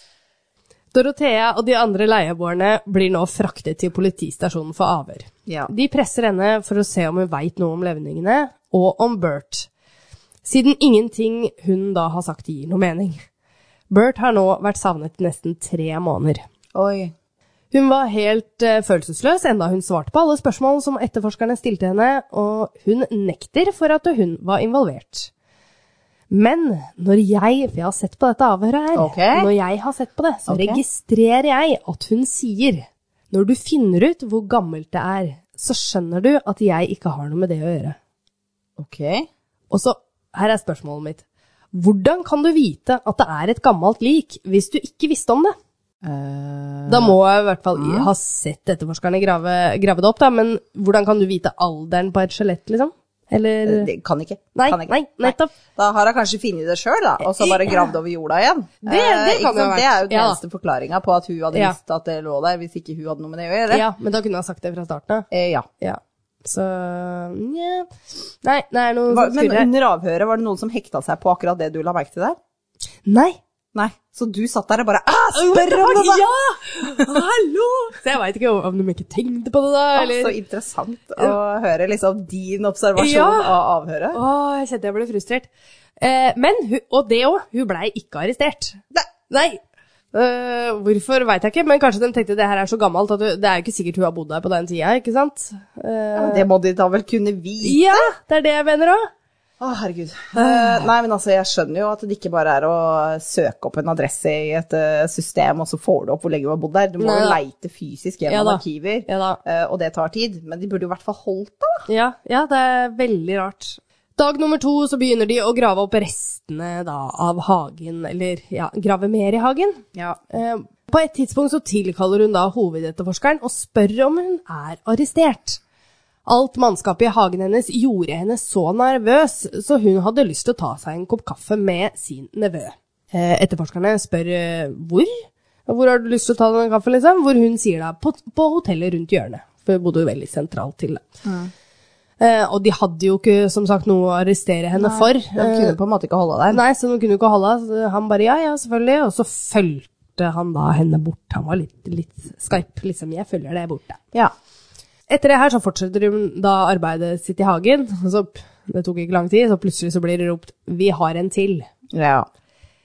Dorothea og de andre leieboerne blir nå fraktet til politistasjonen for avhør. Ja. De presser henne for å se om hun veit noe om levningene, og om Bert. Siden ingenting hun da har sagt gir noe mening. Bert har nå vært savnet i nesten tre måneder. Oi. Hun var helt eh, følelsesløs enda hun svarte på alle spørsmål som etterforskerne stilte henne, og hun nekter for at hun var involvert. Men når jeg, for jeg har sett på dette avhøret her, Ok. når jeg har sett på det, så Ok. registrerer jeg at hun sier når du finner ut hvor gammelt det er, så skjønner du at jeg ikke har noe med det å gjøre. Ok. Og så, her er spørsmålet mitt. Hvordan kan du vite at det er et gammelt lik hvis du ikke visste om det? Eh, Mm. Da må jeg i hvert fall ha sett etterforskerne grave, grave det opp, da, men hvordan kan du vite alderen på et skjelett, liksom? Eller Eh, det kan ikke. Nei, kan ikke. nei, nettopp. Da har hun kanskje funnet det sjøl, da, og så bare gravd over jorda igjen. Det- det Eh, kan det ha ikke sant? det er jo vært. den Ja. eneste forklaringa på at hun hadde Ja. visst at det lå der, hvis ikke hun hadde noe med det å gjøre. Ja, men da kunne jeg ha sagt det fra starten av. Eh, ja. Ja. Så nja Nei, det er noe Hva, som men skurrer. under avhøret, var det noen som hekta seg på akkurat det du la merke til der? Nei! Nei. Så du satt der og bare «Ah, Spør om det, da! Ja! Hallo! Så jeg veit ikke om de ikke tenkte på det, da, Ah, eller Så interessant å høre liksom din observasjon Ja. av avhøret. Å, jeg kjente jeg ble frustrert. Eh, men, hun- og det òg, hun blei ikke arrestert. Nei. Nei. Eh, hvorfor veit jeg ikke, men kanskje de tenkte det her er så gammelt at du, det er jo ikke sikkert hun har bodd der på den tida, ikke sant? Eh, Men Det må de da vel kunne vite? ja, det er det jeg mener òg. Å, herregud. Eh, nei, men altså, jeg skjønner jo at det ikke bare er å søke opp en adresse i et eh, system, og så får du opp hvor lenge du har bodd der. Du må Nei, jo da. leite fysisk Ja, gjennom da. arkiver, Ja da. eh, og det tar tid. Men de burde jo i hvert fall holdt det, da. Ja, ja, det er veldig rart. Dag nummer to så begynner de å grave opp restene da, av hagen, eller ja, grave mer i hagen. Ja. Eh, på et tidspunkt så tilkaller hun da hovedetterforskeren og spør om hun er arrestert. Alt mannskapet i hagen hennes gjorde henne så nervøs, så hun hadde lyst til å ta seg en kopp kaffe med sin nevø. Eh, Etterforskerne spør eh, hvor? Hvor har du lyst til å ta den kaffen, liksom? Hvor hun sier da på, på hotellet rundt hjørnet, for hun bodde jo veldig sentralt til det. Eh, og de hadde jo ikke, som sagt, noe å arrestere henne for. De kunne på en måte ikke holde Eh, deg. Nei, så hun kunne ikke holde av. så Han bare ja, ja, selvfølgelig. Og så fulgte han da henne bort. Han var litt, litt skarp, liksom. Jeg følger deg bort, da. Ja. Etter det her så fortsetter hun da arbeidet sitt i hagen. og Så p- det tok ikke lang tid, så plutselig så blir det ropt 'Vi har en til'. ja.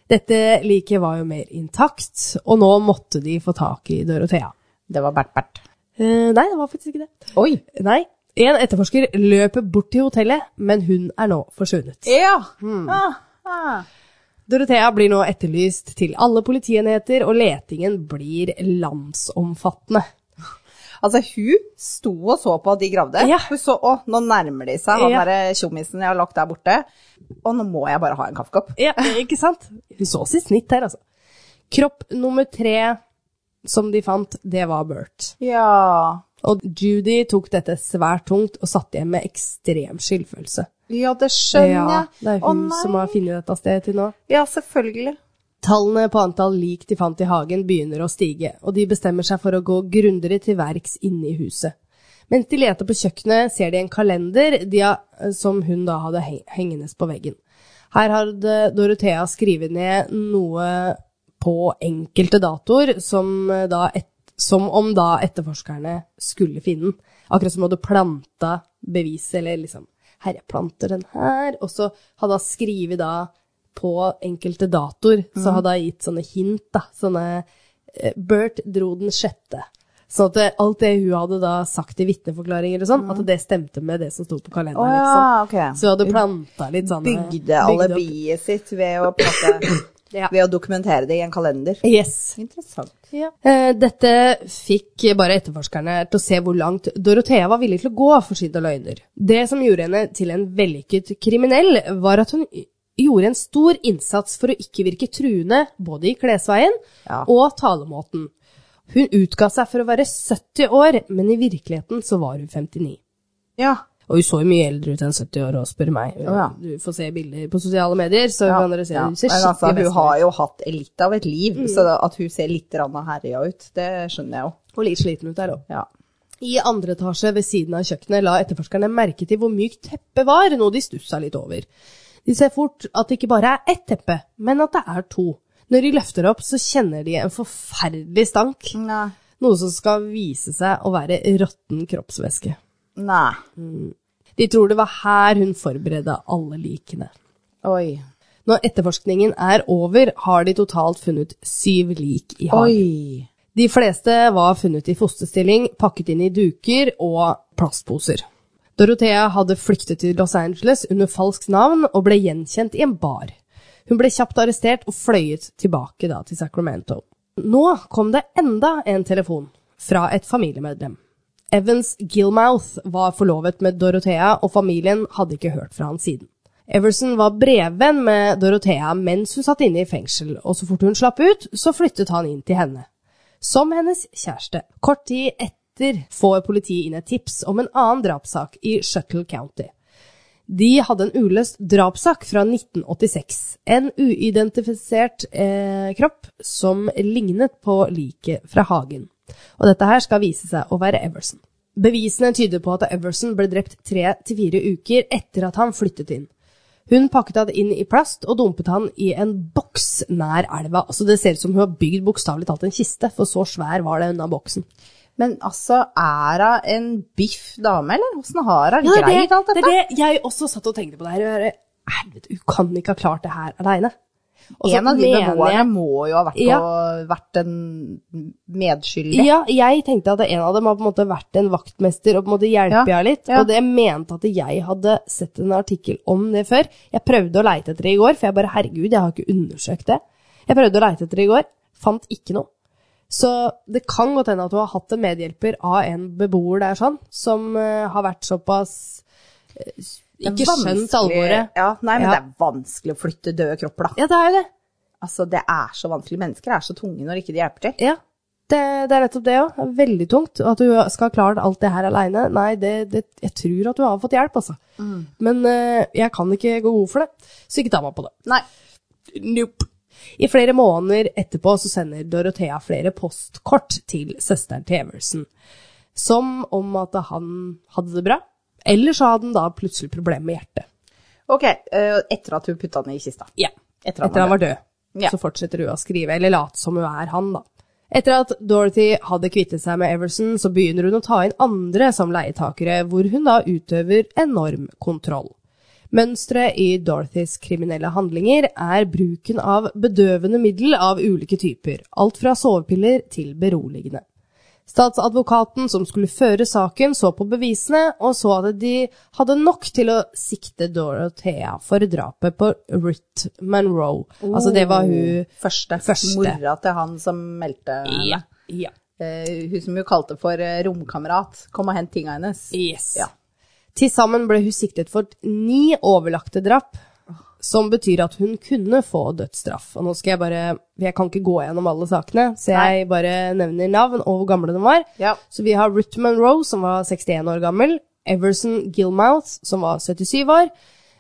Dette liket var jo mer intakt, og nå måtte de få tak i Dorothea. Det var Bert-Bert. Eh, nei, det var faktisk ikke det. Oi. Nei. En etterforsker løper bort til hotellet, men hun er nå forsvunnet. Ja. Ah, ah. Dorothea blir nå etterlyst til alle politienheter, og letingen blir landsomfattende. Altså, hun sto og så på at de gravde. Ja. Hun så å, nå nærmer de seg han Ja. derre tjommisen jeg har lagt der borte. Og nå må jeg bare ha en kaffekopp. Ja, ikke sant? Hun så sitt snitt her, altså. Kropp nummer tre som de fant, det var Bert. Ja. Og Judy tok dette svært tungt og satt igjen med ekstrem skyldfølelse. Ja, det skjønner Ja, jeg. det er Å, hun nei. som har funnet dette stedet til nå. Ja, selvfølgelig. Tallene på antall lik de fant i hagen begynner å stige, og de bestemmer seg for å gå grundigere til verks inne i huset. Mens de leter på kjøkkenet, ser de en kalender de har, eh, som hun da hadde heng- hengende på veggen. Her hadde Dorothea skrevet ned noe på enkelte datoer som eh, da et, Som om da etterforskerne skulle finne den. Akkurat som om du hadde planta bevis, eller liksom Herre, jeg planter den her. Og så hadde hun skrevet da på enkelte datoer, Mm. så hadde hun gitt sånne hint, da. Sånne eh, Bert dro den sjette. Sånn at det, alt det hun hadde da sagt i vitneforklaringer og sånn, at det stemte med det som sto på kalenderen. Mm. Å ikke ja, sant? ok. Så hun hadde planta litt sånn Bygde alibiet sitt ved å, på en måte, Ja. ved å dokumentere det i en kalender. Yes. Interessant. Eh, Dette fikk bare etterforskerne til å se hvor langt Dorothea var villig til å gå for sine løgner. Det som gjorde henne til en vellykket kriminell, var at hun y- gjorde en stor innsats for å ikke virke truende, både i klesveien Ja. og talemåten. Hun utga seg for å være 70 år, men i virkeligheten så var hun 59. Ja. Og hun så jo mye eldre ut enn 70 år, og spør meg. ja. Du får se bilder på sosiale medier, så Ja, kan dere se. ja. Hun ser Men altså, skikkelig hun best har ut. jo hatt litt av et liv, så da- at hun ser litt rann av herja ut, det skjønner jeg jo. Og litt sliten ut der òg. Ja. I andre etasje ved siden av kjøkkenet la etterforskerne merke til hvor mykt teppet var, noe de stussa litt over. De ser fort at det ikke bare er ett teppe, men at det er to. Når de løfter opp, så kjenner de en forferdelig stank, Nei. noe som skal vise seg å være råtten kroppsvæske. Nei. De tror det var her hun forberedte alle likene. Oi. Når etterforskningen er over, har de totalt funnet syv lik i hagen. Oi. De fleste var funnet i fosterstilling, pakket inn i duker og plastposer. Dorothea hadde flyktet til Los Angeles under falskt navn og ble gjenkjent i en bar. Hun ble kjapt arrestert og fløyet tilbake da til Sacramento. Nå kom det enda en telefon fra et familiemedlem. Evans Gilmouth var forlovet med Dorothea, og familien hadde ikke hørt fra han siden. Everson var brevvenn med Dorothea mens hun satt inne i fengsel, og så fort hun slapp ut, så flyttet han inn til henne som hennes kjæreste. Kort tid etter får politiet inn et tips om en annen drapssak i Shuttle County. De hadde en uløst drapssak fra 1986. En uidentifisert eh, kropp som lignet på liket fra Hagen. Og dette her skal vise seg å være Everson. Bevisene tyder på at Everson ble drept tre til fire uker etter at han flyttet inn. Hun pakket han inn i plast og dumpet han i en boks nær elva. Altså Det ser ut som hun har bygd bokstavelig talt en kiste, for så svær var det unna boksen. Men altså, er hun en biff dame, eller? Åssen har hun Ja, det, greid er alt det, dette? det er det jeg også satt og tenkte på det her. og jeg bare, Helvete, hun kan ikke ha klart det her aleine. En av de beboerne må jo ha vært, Ja. på, vært en medskyldig. Ja, jeg tenkte at en av dem har på en måte vært en vaktmester og på en måte hjulpet Ja, henne litt. ja. Og det mente at jeg hadde sett en artikkel om det før. Jeg prøvde å leite etter det i går, for jeg bare herregud, jeg har ikke undersøkt det. Jeg prøvde å leite etter det i går, fant ikke noe. Så det kan godt hende at hun har hatt en medhjelper av en beboer der sånn, som eh, har vært såpass eh, ikke skjønt alvoret. Ja, nei, men Ja. det er vanskelig å flytte døde kropper, da. Ja, det er jo det. Altså, det er så vanskelig. Mennesker er så tunge når ikke de hjelper til. Ja, det, det er nettopp det òg. Veldig tungt. At du skal ha klart alt det her aleine. Nei, det, det, jeg tror at du har fått hjelp, altså. Men eh, jeg kan ikke gå god for det, så ikke ta meg på det. Nei. Nope. I flere måneder etterpå så sender Dorothea flere postkort til søsteren til Everson, som om at han hadde det bra. Eller så hadde han da plutselig problemer med hjertet. Ok, eh, etter at hun putta den i kista. Ja. Etter Etter han han, var var død. Ja. Så fortsetter hun å skrive, eller late som hun er han, da. Etter at Dorothy hadde kvittet seg med Everson, så begynner hun å ta inn andre som leietakere, hvor hun da utøver enorm kontroll. Mønsteret i Dorothys kriminelle handlinger er bruken av bedøvende middel av ulike typer, alt fra sovepiller til beroligende. Statsadvokaten som skulle føre saken, så på bevisene og så at de hadde nok til å sikte Dorothea for drapet på Ruth Monroe. Altså, det var hun Oh, Første. Første. Mora til han som meldte henne. Ja. ja. Eh, hun som jo kalte for eh, romkamerat. Kom og hent tinga hennes. Yes. Ja. Til sammen ble hun siktet for ni overlagte drap, som betyr at hun kunne få dødsstraff. Og nå skal jeg bare Jeg kan ikke gå gjennom alle sakene, så jeg bare nevner navn og hvor gamle de var. Ja. Så vi har Ruth Monroe, som var 61 år gammel. Everson Gilmouth, som var 77 år.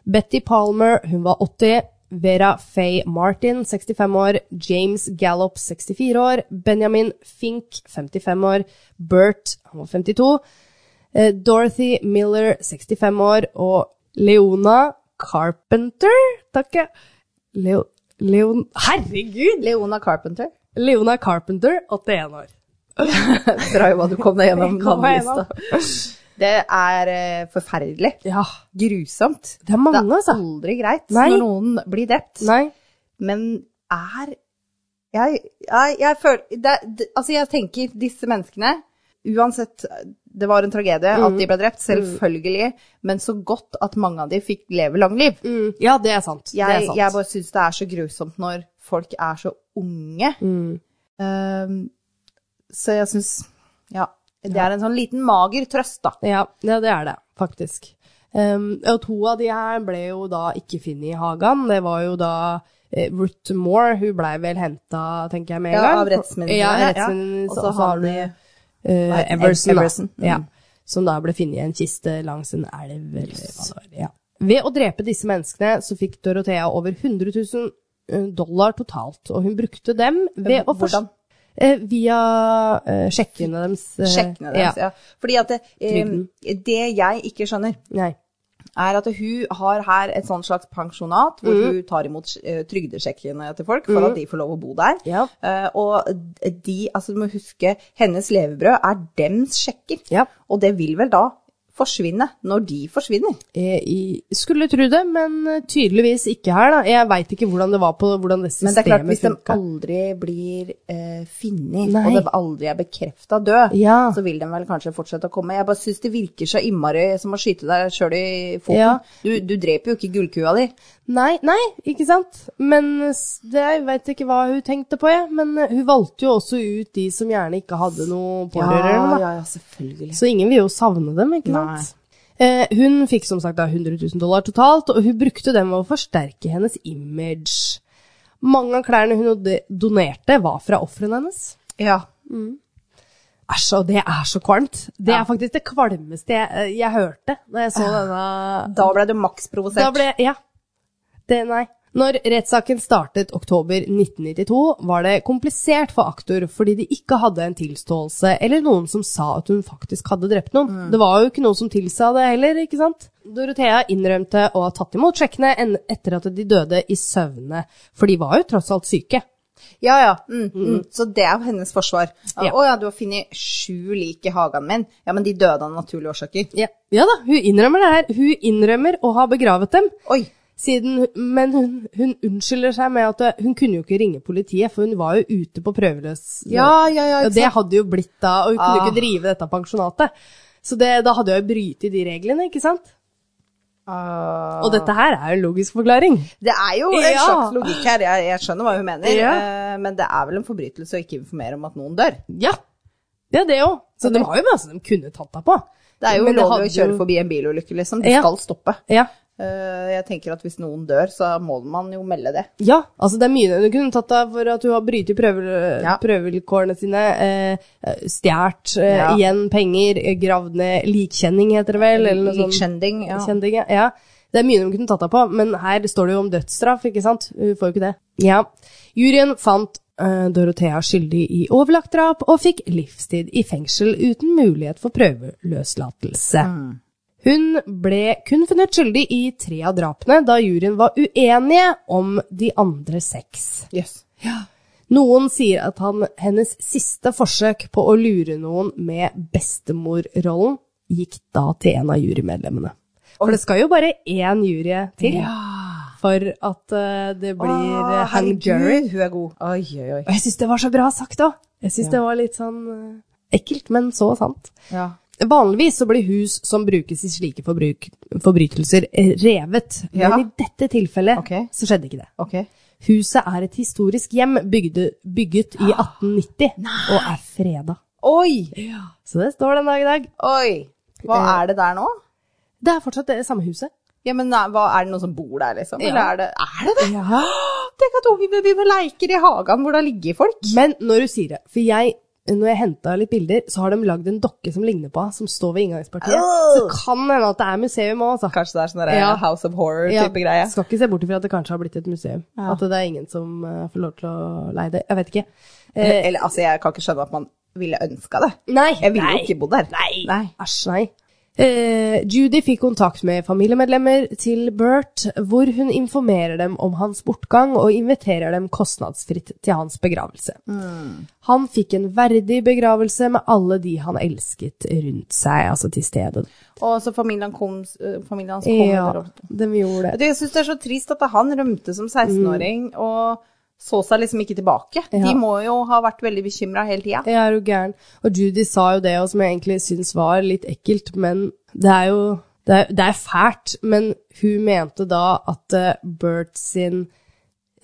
Betty Palmer, hun var 80. Vera Faye Martin, 65 år. James Gallop, 64 år. Benjamin Fink, 55 år. Bert, han var 52. Eh, Dorothy Miller, 65 år, og Leona Carpenter, takk jeg. Leo, Leon, herregud! Leona Carpenter. Leona Carpenter, 81 år. Fra hva du kom deg gjennom Kom meg gjennom. navnelista. Det er eh, forferdelig. Ja. Grusomt. Det er mange, altså. Aldri greit Nei. når noen blir drept. Nei. Men er Jeg, jeg, jeg føler det, det, Altså, jeg tenker disse menneskene Uansett, det var en tragedie at Mm. de ble drept, selvfølgelig, men så godt at mange av de fikk leve lang liv. Mm. Ja, det er sant. Jeg, det er sant. jeg bare syns det er så grusomt når folk er så unge. Mm. Ehm, så jeg syns Ja. Det er en sånn liten mager trøst, da. Ja, ja, det er det, faktisk. Ehm, og to av de her ble jo da ikke funnet i hagen. Det var jo da eh, Ruth Moore, hun blei vel henta, tenker jeg med en gang. Ja, av rettsmyndighetene. Ja, ja. rettsmyndighetene. Og Så- så så har han du i eh, Nei, Everson, da. Everson, mm. Ja, som da ble funnet i en kiste langs en elv. Eller hva det var. Ja. Ved å drepe disse menneskene så fikk Dorothea over 100 000 dollar totalt, og hun brukte dem ved å først- Hvordan? Eh, via eh, sjekkene deres. eh, sjekkene deres. Ja. Fordi at det, Trygden. eh, det jeg ikke skjønner, Nei. er at hun har her et sånn slags pensjonat hvor Mm. hun tar imot eh, trygdesjekkene til folk for at de får lov å bo der. Ja. Eh, og de, altså du må huske, hennes levebrød er dems sjekker. Ja. Og det vil vel da forsvinne når de forsvinner. Eh, i, skulle tro det, men eh, tydeligvis ikke her, da. Jeg veit ikke hvordan det var på hvordan det Men det er klart, systemet hvis de funka. aldri blir eh, funnet, Nei. og de aldri er bekrefta død, Ja. så vil de vel kanskje fortsette å komme. Jeg bare syns det virker så innmari som å skyte deg sjøl i foten. Ja. Du, du dreper jo ikke gullkua di. Nei, nei, ikke sant? Men s- det, jeg veit ikke hva hun tenkte på, jeg. Men eh, hun valgte jo også ut de som gjerne ikke hadde noe pårørende, da. ja, ja, selvfølgelig. Så ingen vil jo savne dem, ikke Nei. sant? Eh, hun fikk som sagt da 100 000 dollar totalt, og hun brukte dem ved å forsterke hennes image. Mange av klærne hun do- donerte, var fra ofrene hennes. Ja. Æsj, og det er så kvalmt. Det Ja. er faktisk det kvalmeste jeg, eh, jeg hørte da jeg så denne Da ble du maks provosert. Da ble Ja. Det, nei. Når rettssaken startet oktober 1992, var det komplisert for aktor fordi de ikke hadde en tilståelse eller noen som sa at hun faktisk hadde drept noen. Det var jo ikke noen som tilsa det heller, ikke sant? Dorothea innrømte å ha tatt imot sjekkene en- etter at de døde i søvne, for de var jo tross alt syke. Ja, ja. Mm, mm. Så det er jo hennes forsvar. Mhm. Ja. Ja. Å ja, du har funnet sju lik i hagen min. Ja, men de døde av naturlige årsaker. Ja. ja da, hun innrømmer det her. Hun innrømmer å ha begravet dem. Oi. Siden, men hun, hun unnskylder seg med at hun kunne jo ikke ringe politiet, for hun var jo ute på prøveløs. Ja, ja, ja. Og Ikke det sant? hadde jo blitt da, og hun kunne jo Ah. ikke drive dette pensjonatet. Så det, da hadde jeg jo brytet de reglene, ikke sant? Ah. Og dette her er jo en logisk forklaring. Det er jo en Ja. slags logikk her. Jeg, jeg skjønner hva hun mener. Ja. Eh, men det er vel en forbrytelse å ikke informere om at noen dør. Ja, det er det jo. Så de har jo masse de kunne tatt deg på. Det er jo Men ulovlig å hadde jo- kjøre forbi en bilulykke, liksom. De Ja. skal stoppe. Ja. Eh, jeg tenker at hvis noen dør, så må man jo melde det. Ja, altså det er mye du kunne tatt deg for at du har brytet prøve, Ja. prøvevilkårene sine, eh, stjålet eh, Ja. igjen penger, eh, gravd ned likkjenning heter det vel, eller noe sånn- sånt. Likskjending. Ja. Kjending, ja. ja. Det er mye de kunne tatt deg på, men her står det jo om dødsstraff, ikke sant? Hun får jo ikke det. Ja. Juryen fant eh, Dorothea skyldig i overlagt drap og fikk livstid i fengsel uten mulighet for prøveløslatelse. Mm. Hun ble kun funnet skyldig i tre av drapene, da juryen var uenige om de andre seks. Yes. Noen sier at han, hennes siste forsøk på å lure noen med bestemorrollen gikk da til en av jurymedlemmene. For det skal jo bare én jury til for at eh, det blir Ah, uh, hang jury. herregud, Hun er god. Oi, oi, oi. Og jeg syns det var så bra sagt òg. Jeg syns det var litt sånn eh, ekkelt, men så sant. Ja. Vanligvis så blir hus som brukes i slike forbruk, forbrytelser, eh, revet. Ja. Men i dette tilfellet Ok. så skjedde ikke det. Ok. Huset er et historisk hjem bygde, bygget i 1890 og er freda. Oi! Så det står den dag i dag. Oi! Hva Eh. er det der nå? Det er fortsatt det samme huset. Ja, men nei, hva, Er det noen som bor der, liksom? Ja. Eller er det er det? det? Ja. Tenk at ungene dine leker i hagen hvor det har ligget folk. Men når du sier det, for jeg, når jeg henta litt bilder, så har de lagd en dokke som ligner på henne, som står ved inngangspartiet. Så det kan hende at det er museum òg, altså. Kanskje det er sånn der, Ja. House of Ja, Horror-type greie. Skal ikke se bort ifra at det kanskje har blitt et museum. Ja. At det er ingen som eh, får lov til å leie det. Jeg vet ikke. Eh, Eller, eller, altså, jeg kan ikke skjønne at man ville ønska det. Nei. Jeg ville jo ikke bodd der. Nei. Æsj, nei. Eh, Judy fikk kontakt med familiemedlemmer til Bert, hvor hun informerer dem om hans bortgang og inviterer dem kostnadsfritt til hans begravelse. Han fikk en verdig begravelse med alle de han elsket rundt seg, altså til stedet. Og så familien, kom, eh, familien hans kom Ja, der opp. de gjorde Vet det. du, Jeg syns det er så trist at han rømte som 16-åring og så seg liksom ikke tilbake. Ja. De må jo ha vært veldig bekymra hele tida. Jeg er jo gæren. Og Judy sa jo det, og som jeg egentlig syns var litt ekkelt, men det er jo det er, det er fælt. Men hun mente da at eh, Bert sin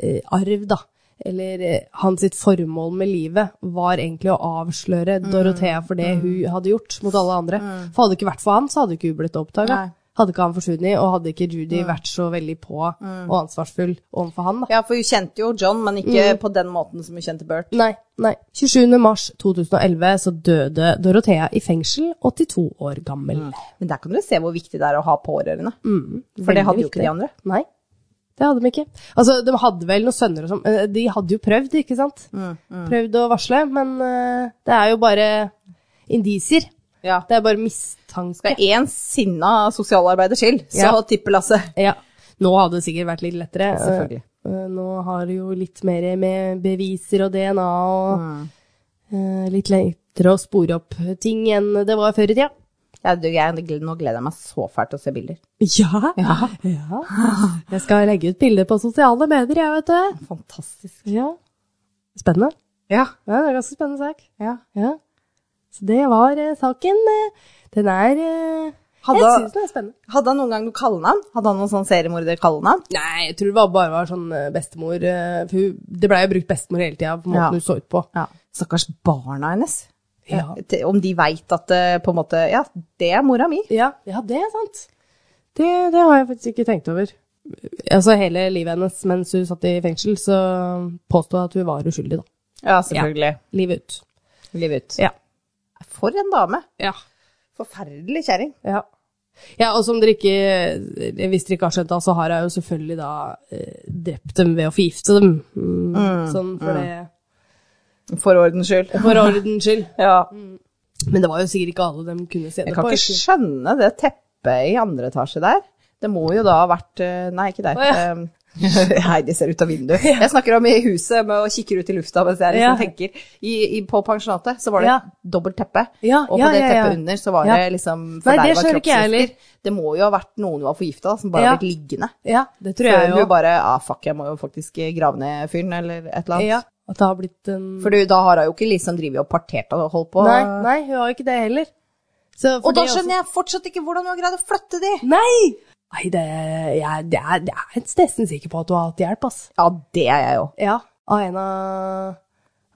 eh, arv, da, eller eh, hans sitt formål med livet, var egentlig å avsløre Dorothea for det hun hadde gjort mot alle andre. For hadde det ikke vært for han, så hadde ikke hun blitt oppdaga. Nei. Hadde ikke han forsvunnet, og hadde ikke Judy vært så veldig på og ansvarsfull overfor han, da. Ja, for hun kjente jo John, men ikke på den måten som hun kjente Bert. Nei, nei. 27. mars 2011 så døde Dorothea i fengsel, 82 år gammel. Men der kan du se hvor viktig det er å ha pårørende. for det Veldig hadde jo ikke viktig. de andre. Nei, det hadde de ikke. Altså, de hadde vel noen sønner og sånn. eh, De hadde jo prøvd, ikke sant? Prøvd å varsle, men eh, det er jo bare indisier. Ja. Det er bare mistanke. Skal én sinna sosialarbeider til, så Ja. tipper Lasse. Ja. Nå hadde det sikkert vært litt lettere. Selvfølgelig. Eh, Nå har det jo litt mer med beviser og DNA og eh, litt lettere å spore opp ting enn det var før i tida. Ja, du, jeg, nå gleder jeg meg så fælt til å se bilder. Ja. Ja. Jeg skal legge ut bilder på sosiale medier, jeg, vet du. Fantastisk. Ja. Spennende. Ja. Ja, det er en ganske spennende sak. ja. Ja. Så det var eh, saken. Eh, Den er eh, Hadde- Jeg syns den er spennende. Hadde han noen gang noe kallenavn? Hadde han noen sånn seriemorder-kallenavn? Nei, jeg tror det var- bare var sånn eh, bestemor eh, for hun- Det blei jo brukt bestemor hele tida på måten Ja. hun så ut på. Eh, Ja. Stakkars barna hennes. Ja. Te- Om de veit at eh, på en måte Ja, det er mora mi. Ja, ja det er sant. Det, det har jeg faktisk ikke tenkt over. Altså hele livet hennes mens hun satt i fengsel, så påstod jeg at hun var uskyldig, da. Ja, selvfølgelig. Livet ut. Liv ut. Ja. For en dame. ja. Forferdelig kjerring. Ja. ja, og som dere ikke Hvis dere ikke har skjønt det, så har jeg jo selvfølgelig da eh, drept dem ved å forgifte dem. Mm, sånn for det For ordens skyld. For ordens skyld. Ja. Men det var jo sikkert ikke alle dem kunne se Jeg det kan på. ikke skjønne det teppet i andre etasje der. Det må jo da ha vært eh, Nei, ikke der. Å, ja. Um, Nei, de ser ut av vinduet. Jeg snakker om i huset med å kikke ut i lufta mens jeg liksom Ja. tenker. I, i, på pensjonatet så var det Ja. dobbelt teppe, Ja, og på ja, det ja, teppet ja. under så var Ja. det liksom Nei, det forderva skjønner ikke jeg heller. kroppsvæsker. Det må jo ha vært noen hun var forgifta, som bare Ja. har blitt liggende. Ja, det tror Før jeg hun jo. bare ah, fuck, jeg må jo faktisk grave ned fyren, eller et eller annet. Ja, at det har blitt en For du, da har hun jo ikke liksom drevet og partert og holdt på. Nei, nei, hun har jo ikke det heller. Så Og da skjønner jeg fortsatt ikke hvordan hun har greid å flytte de! Nei! Nei, det, jeg, det er, det er jeg nesten sikker på at du har hatt hjelp, ass. Ja, det er jeg jo. Ja, av en av,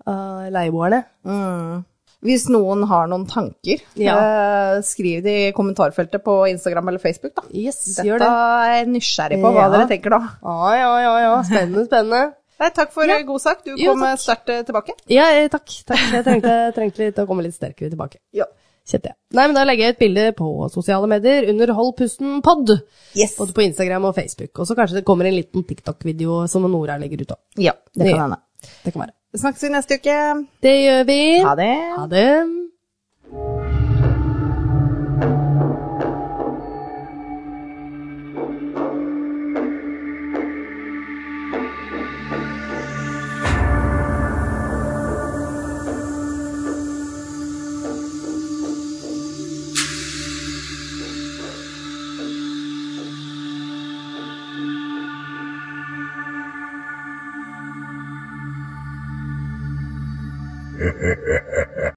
av leieboerne. Mm. Hvis noen har noen tanker, Ja. eh, skriv det i kommentarfeltet på Instagram eller Facebook, da. Yes, Dette gjør det. er jeg nysgjerrig på hva Ja. dere tenker da. Ja, ja, ja, ja. Spennende, spennende. Nei, takk for eh, god sak. Du Jo, kom takk. sterkt eh, tilbake. Ja, eh, takk. takk. Jeg trengte, trengte litt å komme litt sterkere tilbake. Ja. Kjente jeg. Nei, men da legger jeg ut bilde på sosiale medier under Hold pusten pod. Yes. Både på Instagram og Facebook. Og så kanskje det kommer en liten TikTok-video som Nora legger ut òg. Ja, det kan hende. Det kan være. Snakkes vi neste uke. Det gjør vi. Ha det. Ha det.